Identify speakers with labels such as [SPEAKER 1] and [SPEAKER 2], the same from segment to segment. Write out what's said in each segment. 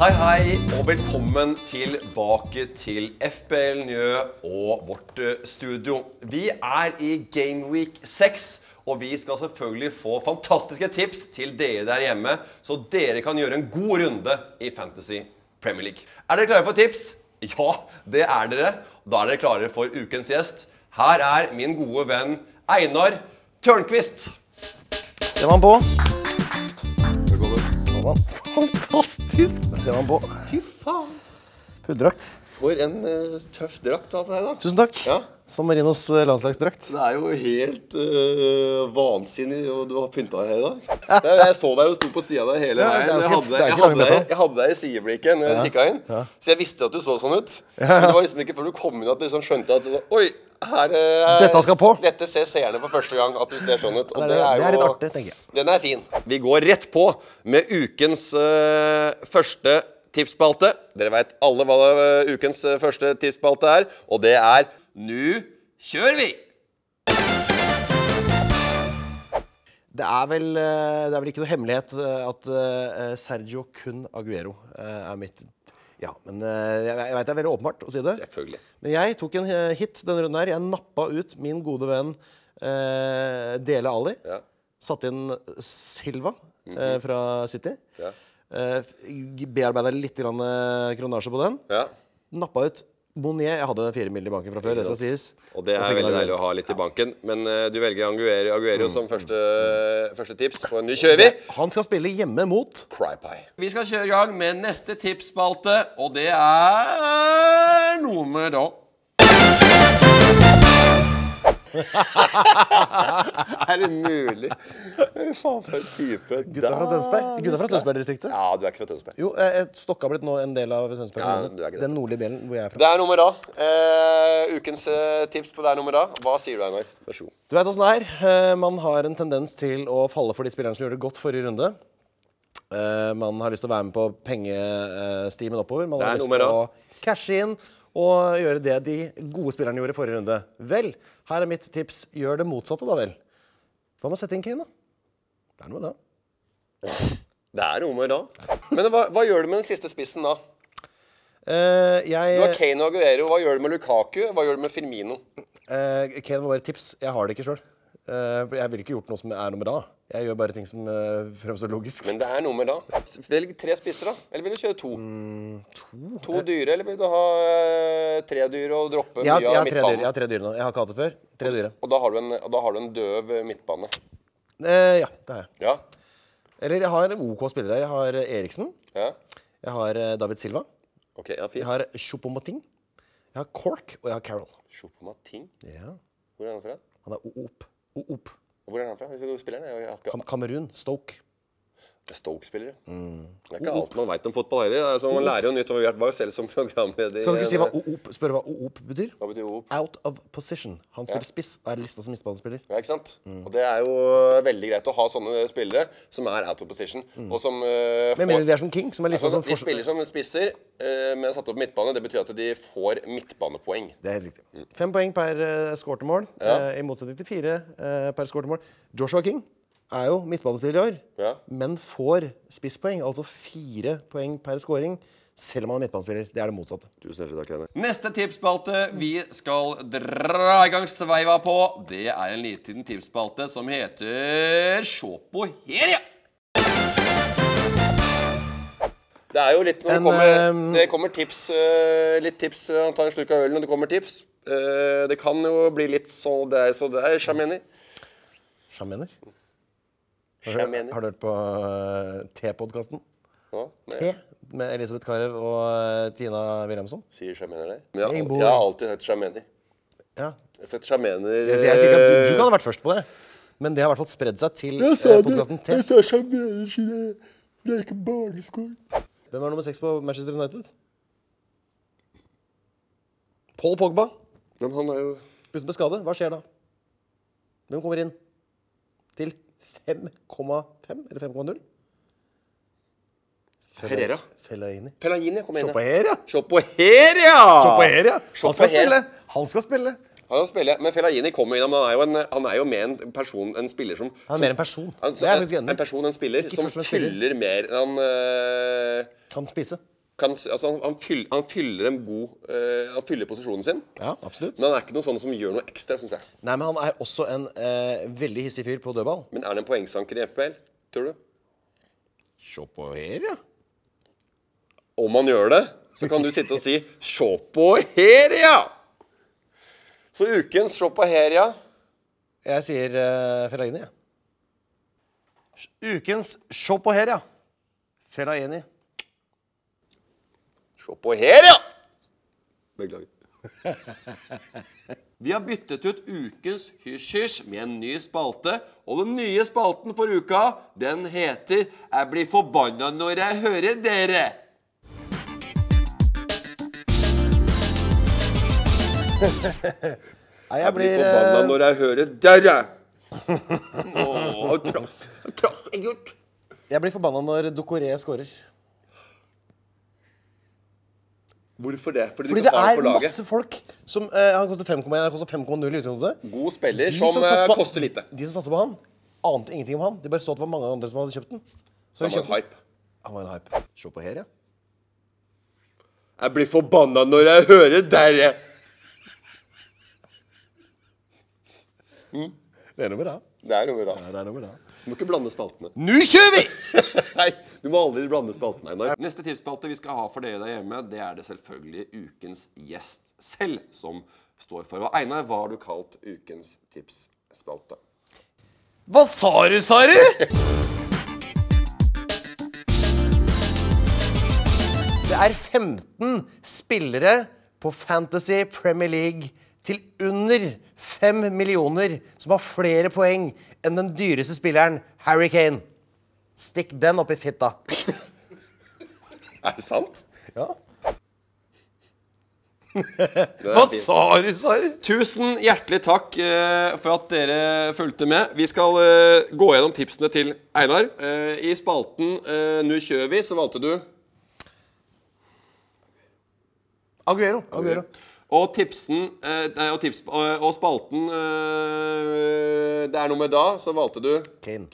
[SPEAKER 1] Hei, hei, og velkommen tilbake til FBL Njø og vårt eh, studio. Vi er i Gameweek 6, og vi skal selvfølgelig få fantastiske tips til dere der hjemme, så dere kan gjøre en god runde i Fantasy Premier League. Er dere klare for tips? Ja, det er dere. Da er dere klare for ukens gjest. Her er min gode venn Einar Tørnquist.
[SPEAKER 2] Ser man på.
[SPEAKER 1] Velkommen.
[SPEAKER 2] Ser man.
[SPEAKER 1] Fantastisk!
[SPEAKER 2] Ser man på.
[SPEAKER 1] Fy faen.
[SPEAKER 2] Puddrakt.
[SPEAKER 1] For en eh, tøff drakt du har på deg i dag.
[SPEAKER 2] Tusen takk.
[SPEAKER 1] Ja.
[SPEAKER 2] San Marinos eh, landslagsdrakt.
[SPEAKER 1] Det er jo helt øh, vansinnig og du har pynta deg her i dag. Jeg, jeg så deg jo sto på sida av deg hele
[SPEAKER 2] Ja,
[SPEAKER 1] veien.
[SPEAKER 2] det
[SPEAKER 1] Jeg
[SPEAKER 2] er jo ikke-
[SPEAKER 1] hadde,
[SPEAKER 2] det
[SPEAKER 1] deg-
[SPEAKER 2] er
[SPEAKER 1] jeg,
[SPEAKER 2] ikke
[SPEAKER 1] hadde
[SPEAKER 2] langt
[SPEAKER 1] deg,
[SPEAKER 2] derfra.
[SPEAKER 1] jeg hadde deg i sideblikket når jeg kikka inn, så jeg visste at du så sånn ut. Men det var liksom ikke før du kom inn at jeg liksom skjønte at Oi, her eh,
[SPEAKER 2] Dette skal på.
[SPEAKER 1] Dette ser seerne for første gang, at du ser sånn ut. Og
[SPEAKER 2] Det er-
[SPEAKER 1] det er
[SPEAKER 2] det er
[SPEAKER 1] jo
[SPEAKER 2] litt artig, tenker jeg.
[SPEAKER 1] Den er fin. Vi går rett på med ukens eh, første tipsspalte. Dere veit alle hva eh, ukens eh, første tipsspalte er, og det er Nu kjører vi!
[SPEAKER 2] Det er, vel, eh, det er vel ikke noe hemmelighet eh, at eh, Sergio Kun Aguero eh, er mitt Ja, men eh, jeg, jeg veit det er veldig åpenbart å si det.
[SPEAKER 1] Selvfølgelig.
[SPEAKER 2] Men jeg tok en eh, hit denne runden her. Jeg nappa ut min gode venn eh, Dele Ali.
[SPEAKER 1] Ja. Mhm.
[SPEAKER 2] Satte inn Silva eh, fra City.
[SPEAKER 1] Ja.
[SPEAKER 2] Eh, Bearbeida litt grann, eh, kronasje på den.
[SPEAKER 1] ja.
[SPEAKER 2] Nappa ut Monier. Jeg hadde fire mil i banken fra før, det skal sies.
[SPEAKER 1] Og det
[SPEAKER 2] Og
[SPEAKER 1] er
[SPEAKER 2] fikk Mm. en
[SPEAKER 1] veldig
[SPEAKER 2] Aguero.
[SPEAKER 1] deilig å ha litt i banken. Men eh, du velger Aguero, Aguero som første, første tips på en ny kjører vi.
[SPEAKER 2] Han skal spille hjemme mot
[SPEAKER 1] Crypie. Vi skal kjøre i gang med neste tipsspalte, og det er nummer da. er det mulig? Faen, for en type.
[SPEAKER 2] gutta fra Tønsberg. Gutta fra Tønsberg-distriktet.
[SPEAKER 1] Ja, du er ikke fra Tønsberg.
[SPEAKER 2] Jo, eh, Stokka har blitt nå en del av Tønsberg
[SPEAKER 1] Ja,
[SPEAKER 2] kommune.
[SPEAKER 1] du er ikke det.
[SPEAKER 2] Den nordlige delen hvor jeg er fra.
[SPEAKER 1] Det er nummer A. Eh, ukens eh, tips på det er nummer A. Hva sier du, Einar? Vær så god.
[SPEAKER 2] Du veit åssen det er. Eh, Man har en tendens til å falle for de spillerne som gjorde det godt forrige runde. Eh, Man har lyst til å være med på pengestimen oppover. Man har
[SPEAKER 1] Det er
[SPEAKER 2] lyst
[SPEAKER 1] nummer
[SPEAKER 2] til å cashe inn og gjøre det de gode spillerne gjorde i forrige runde. Vel, her er mitt tips. Gjør det motsatte, da vel. Hva med å sette inn Kane, da? Det er noe med det.
[SPEAKER 1] Det er nummer A. Men hva, hva gjør du med den siste spissen da?
[SPEAKER 2] Eh, jeg,
[SPEAKER 1] Du har Kane og Aguero. Hva gjør du med Lukaku? Hva gjør du med Firmino?
[SPEAKER 2] Eh, Kane var bare et tips. Jeg har det ikke sjøl. jeg ville ikke gjort noe som er nummer A. Jeg gjør bare ting som eh, fremstår logisk.
[SPEAKER 1] Men det er nummer da. Velg tre spisser, da. Eller vil du kjøre to?
[SPEAKER 2] Mm,
[SPEAKER 1] to? dyre, eller vil du ha eh, tre dyre og droppe
[SPEAKER 2] jeg, har,
[SPEAKER 1] mye av
[SPEAKER 2] jeg, har tre dyr,
[SPEAKER 1] midtbanen?
[SPEAKER 2] jeg har tre dyr nå. Jeg har ikke hatt det før. Tre dyre.
[SPEAKER 1] Og da har, du en, og da har du en døv eh, midtbane.
[SPEAKER 2] Eh, ja, det har jeg.
[SPEAKER 1] Ja.
[SPEAKER 2] Eller jeg har OK spillere. Jeg har eh, Eriksen.
[SPEAKER 1] ja.
[SPEAKER 2] Jeg har eh, David Silva.
[SPEAKER 1] Ok, ja,
[SPEAKER 2] Jeg
[SPEAKER 1] fint.
[SPEAKER 2] har Choupo-Moting. Jeg har Cork, og jeg har Carol.
[SPEAKER 1] Choupo-Moting.
[SPEAKER 2] Ja.
[SPEAKER 1] Hvor er han fra?
[SPEAKER 2] Han er OOP. OOP.
[SPEAKER 1] Hvor er han fra? Hvis du spiller den? Jeg har ikke
[SPEAKER 2] Kam Kamerun.
[SPEAKER 1] Eh,
[SPEAKER 2] Stoke.
[SPEAKER 1] Stoke-spillere.
[SPEAKER 2] Mm.
[SPEAKER 1] Det er ikke alt man veit om fotball heller. Altså, man lærer jo nytt om hvert var jo selv som programleder.
[SPEAKER 2] Oh. Skal du ikke si hva
[SPEAKER 1] OOP
[SPEAKER 2] OOP Spørre hva OOP betyr?
[SPEAKER 1] Hva betyr OOP?
[SPEAKER 2] Out of position. Han spiller spiss og er lista som midtbanespiller.
[SPEAKER 1] Ja, ikke sant? Og det er jo veldig greit å ha sånne spillere som er out of position, og som eh,
[SPEAKER 2] Med
[SPEAKER 1] får-
[SPEAKER 2] mindre de er som King, som er lista
[SPEAKER 1] Altså,
[SPEAKER 2] som
[SPEAKER 1] de
[SPEAKER 2] forsvar...
[SPEAKER 1] spiller som spisser, eh, men satt opp midtbane. Det betyr at de får midtbanepoeng.
[SPEAKER 2] Det er helt riktig. Fem poeng per uh, mål, eh, i motsetning til fire eh, per skårte mål. Joshua King er jo midtbanespiller i år,
[SPEAKER 1] Ja.
[SPEAKER 2] men får spisspoeng, altså fire poeng per skåring, selv om han er midtbanespiller. Det er det motsatte.
[SPEAKER 1] Tusen hjertelig takk, Einar.
[SPEAKER 3] Neste tipsspalte vi skal dra i gang sveiva på, det er en liten tipsspalte som heter Se på her, ja!
[SPEAKER 1] Det er jo litt når det
[SPEAKER 2] En,
[SPEAKER 1] kommer,
[SPEAKER 2] ehm,
[SPEAKER 1] det kommer tips eh, Litt tips. eh, Han tar en slurk av ølen, og det kommer tips. Eh, det kan jo bli litt så det er så det er. Sjamener.
[SPEAKER 2] Sjamener. Har, du-
[SPEAKER 1] Sjamener.
[SPEAKER 2] har du hørt på eh, T-podkasten?
[SPEAKER 1] Hva? Nei,
[SPEAKER 2] T med Elisabeth Carew og eh, Tina Wilhelmsen?
[SPEAKER 1] Sier sjamener der. Men jeg, har
[SPEAKER 2] Jeg
[SPEAKER 1] al-
[SPEAKER 2] bor-
[SPEAKER 1] jeg har alltid sett sjamener.
[SPEAKER 2] Ja.
[SPEAKER 1] Jeg har sett sjamener
[SPEAKER 2] Jeg, sier ikke at du, du kan ha vært først på det, men det har i hvert fall spredd seg til eh, podkasten T.
[SPEAKER 1] sa sjamener siden det er ikke barneskolen.
[SPEAKER 2] Hvem er nummer seks på Manchester United? Paul Pogba.
[SPEAKER 1] Men han er jo
[SPEAKER 2] Uten med skade. Hva skjer da? Hvem kommer inn? Til 5,5 eller 5,0?
[SPEAKER 1] Herrera.
[SPEAKER 2] Fellaini.
[SPEAKER 1] Pelagini, kom
[SPEAKER 2] Se
[SPEAKER 1] inn.
[SPEAKER 2] på her, ja!
[SPEAKER 1] Se på her, ja!
[SPEAKER 2] Se på her, ja!
[SPEAKER 1] Se på
[SPEAKER 2] Han skal
[SPEAKER 1] her.
[SPEAKER 2] spille! Han skal spille!
[SPEAKER 1] Han spiller, men Fellaini kommer innom. Han er jo, en, han er jo med en person, en spiller som
[SPEAKER 2] Han er mer en person.
[SPEAKER 1] Han-
[SPEAKER 2] Det er jeg faktisk enig i.
[SPEAKER 1] en person, en spiller,
[SPEAKER 2] Ikke
[SPEAKER 1] som
[SPEAKER 2] først og fremst spiller.
[SPEAKER 1] fyller mer Han øh,
[SPEAKER 2] Kan spise.
[SPEAKER 1] kan, altså han, han, fyller, han fyller en god øh, Han fyller posisjonen sin.
[SPEAKER 2] Ja, absolutt.
[SPEAKER 1] Men han er ikke noe sånn som gjør noe ekstra, syns jeg.
[SPEAKER 2] Nei, men han er også en eh, veldig hissig fyr på dødball.
[SPEAKER 1] Men er han en poengsanker i FPL, tror du?
[SPEAKER 2] Se på her, ja.
[SPEAKER 1] Om han gjør det, så kan du sitte og si 'Sjå på Heria'! Så ukens 'Sjå på Heria'
[SPEAKER 2] Jeg sier uh, Fellaini, jeg. Ukens Se på her, ja. Fellaini.
[SPEAKER 1] Se på her, ja! Beklager. Vi har byttet ut ukens hysj-hysj med en ny spalte. Og den nye spalten for uka, den heter 'Jeg blir forbanna når jeg hører dere'.
[SPEAKER 2] Nei,
[SPEAKER 1] Jeg
[SPEAKER 2] jeg
[SPEAKER 1] blir
[SPEAKER 2] blir
[SPEAKER 1] forbanna
[SPEAKER 2] eh,
[SPEAKER 1] når jeg hører dere. Åh, traff. Traff jeg gjort.
[SPEAKER 2] Jeg blir forbanna når Dokoré scorer.
[SPEAKER 1] Hvorfor det? Fordi,
[SPEAKER 2] Fordi
[SPEAKER 1] du
[SPEAKER 2] det
[SPEAKER 1] ikke har ham
[SPEAKER 2] er
[SPEAKER 1] på laget.
[SPEAKER 2] masse folk som eh, Han koster 5,1, han koster 5,0 i utgangspunktet.
[SPEAKER 1] God spiller
[SPEAKER 2] De
[SPEAKER 1] som,
[SPEAKER 2] satser
[SPEAKER 1] eh,
[SPEAKER 2] på-
[SPEAKER 1] koster lite.
[SPEAKER 2] De som satser på han, ante ingenting om han. De bare så at det var mange andre som hadde kjøpt den. Så
[SPEAKER 1] Det
[SPEAKER 2] de
[SPEAKER 1] var
[SPEAKER 2] kjøpte
[SPEAKER 1] en
[SPEAKER 2] den.
[SPEAKER 1] hype.
[SPEAKER 2] Han var en hype. Se på her, ja.
[SPEAKER 1] Jeg blir forbanna når jeg hører dere.
[SPEAKER 2] Det er nummer A.
[SPEAKER 1] Det er noe rart.
[SPEAKER 2] Ja, det er nummer A.
[SPEAKER 1] Du må ikke blande spaltene.
[SPEAKER 2] Nå kjører vi!
[SPEAKER 1] Nei, du må aldri blande spaltene, Einar. Neste tipsspalte vi skal ha for dere der hjemme, det er det selvfølgelig ukens gjest selv som står for. Og Einar, hva har du kalt ukens tipsspalte?
[SPEAKER 2] Hva sa du, sa du? Det er 15 spillere på Fantasy Premier League til under 5 millioner som har flere poeng enn den dyreste spilleren, Harry Kane. Stikk den opp i fitta.
[SPEAKER 1] Er det sant?
[SPEAKER 2] Ja.
[SPEAKER 1] Det er
[SPEAKER 2] Hva
[SPEAKER 1] fint.
[SPEAKER 2] sa du, sa du?
[SPEAKER 1] Tusen hjertelig takk eh, for at dere fulgte med. Vi skal eh, gå gjennom tipsene til Einar. Eh, I spalten eh, Nå kjører vi, så valgte du
[SPEAKER 2] Aguero. Aguero.
[SPEAKER 1] Og tipsen eh, Nei, og, tips, og, og spalten eh, Det er noe med da, så valgte du
[SPEAKER 2] Kane.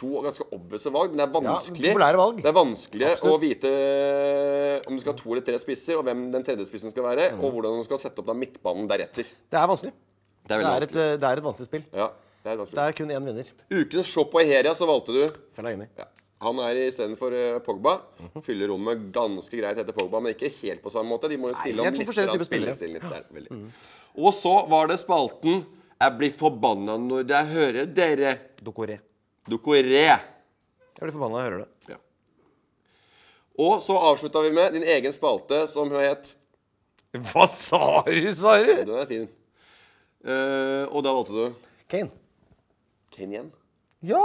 [SPEAKER 1] To ganske obvise valg, men det er vanskelig
[SPEAKER 2] populære valg.
[SPEAKER 1] Det er vanskelig å
[SPEAKER 2] Absolutt.
[SPEAKER 1] vite eh, om du skal ha to eller tre spisser, og hvem den tredje spissen skal være, og hvordan du skal sette opp da midtbanen deretter.
[SPEAKER 2] Mhm. Det er vanskelig.
[SPEAKER 1] Det
[SPEAKER 2] Det er, et, eh, det er et vanskelig spill.
[SPEAKER 1] Ja, det er
[SPEAKER 2] Det
[SPEAKER 1] vanskelig.
[SPEAKER 2] er kun én vinner.
[SPEAKER 1] Ukens show på Heria, så valgte du
[SPEAKER 2] Fellaini.
[SPEAKER 1] ja. Han er istedenfor uh, Pogba. Fyller rommet ganske greit etter Pogba, men ikke helt på samme måte. De må jo stille
[SPEAKER 2] Nei,
[SPEAKER 1] om
[SPEAKER 2] de er to
[SPEAKER 1] litt.
[SPEAKER 2] forskjellige
[SPEAKER 1] grann
[SPEAKER 2] typer spillere. Mm.
[SPEAKER 1] spillestilen litt der, veldig. Og så var det spalten 'Jeg blir forbanna når jeg hører dere'.
[SPEAKER 2] Dokoré.
[SPEAKER 1] Dokoré.
[SPEAKER 2] Jeg blir forbanna når jeg hører det.
[SPEAKER 1] Ja. Og så avslutta vi med din egen spalte som het
[SPEAKER 2] Hva sa du, sa du?
[SPEAKER 1] Den er fin. Eh, og da valgte du
[SPEAKER 2] Kane.
[SPEAKER 1] Kane igjen.
[SPEAKER 2] Ja!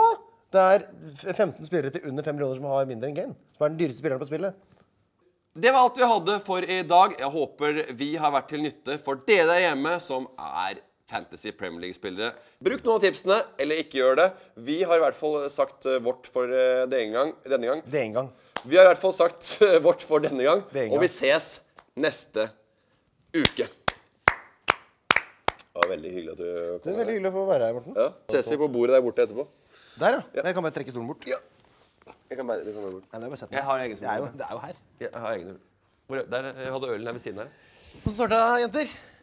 [SPEAKER 2] Det er f- 15 spillere til under 5 millioner som har mindre enn Kane. Som er den dyreste spilleren på spillet.
[SPEAKER 1] Det var alt vi hadde for i dag. Jeg håper vi har vært til nytte for dere der hjemme som er Fantasy Premier League-spillere. Bruk noen av tipsene, eller ikke gjør det. Vi har i hvert fall sagt eh, vårt for eh, denne gang. Denne gang.
[SPEAKER 2] Det er en gang.
[SPEAKER 1] Vi har i hvert fall sagt eh, vårt for denne gang,
[SPEAKER 2] Denne
[SPEAKER 1] og
[SPEAKER 2] gang.
[SPEAKER 1] vi ses neste uke. Det var veldig hyggelig at du
[SPEAKER 2] Det
[SPEAKER 1] kom.
[SPEAKER 2] er Veldig hyggelig å få være her, Morten.
[SPEAKER 1] Ja. Ses vi på bordet der borte etterpå?
[SPEAKER 2] Der, ja. Jeg kan bare trekke stolen bort.
[SPEAKER 1] Jeg kan bare, du kan bare bort.
[SPEAKER 2] Nei, det er bare sett
[SPEAKER 1] Jeg har egen
[SPEAKER 2] Det er jo,
[SPEAKER 1] stol.
[SPEAKER 2] det er jo her.
[SPEAKER 1] Jeg har egne Hvor er- Der jeg hadde ølen her ved siden her.
[SPEAKER 2] Hvordan står det, jenter?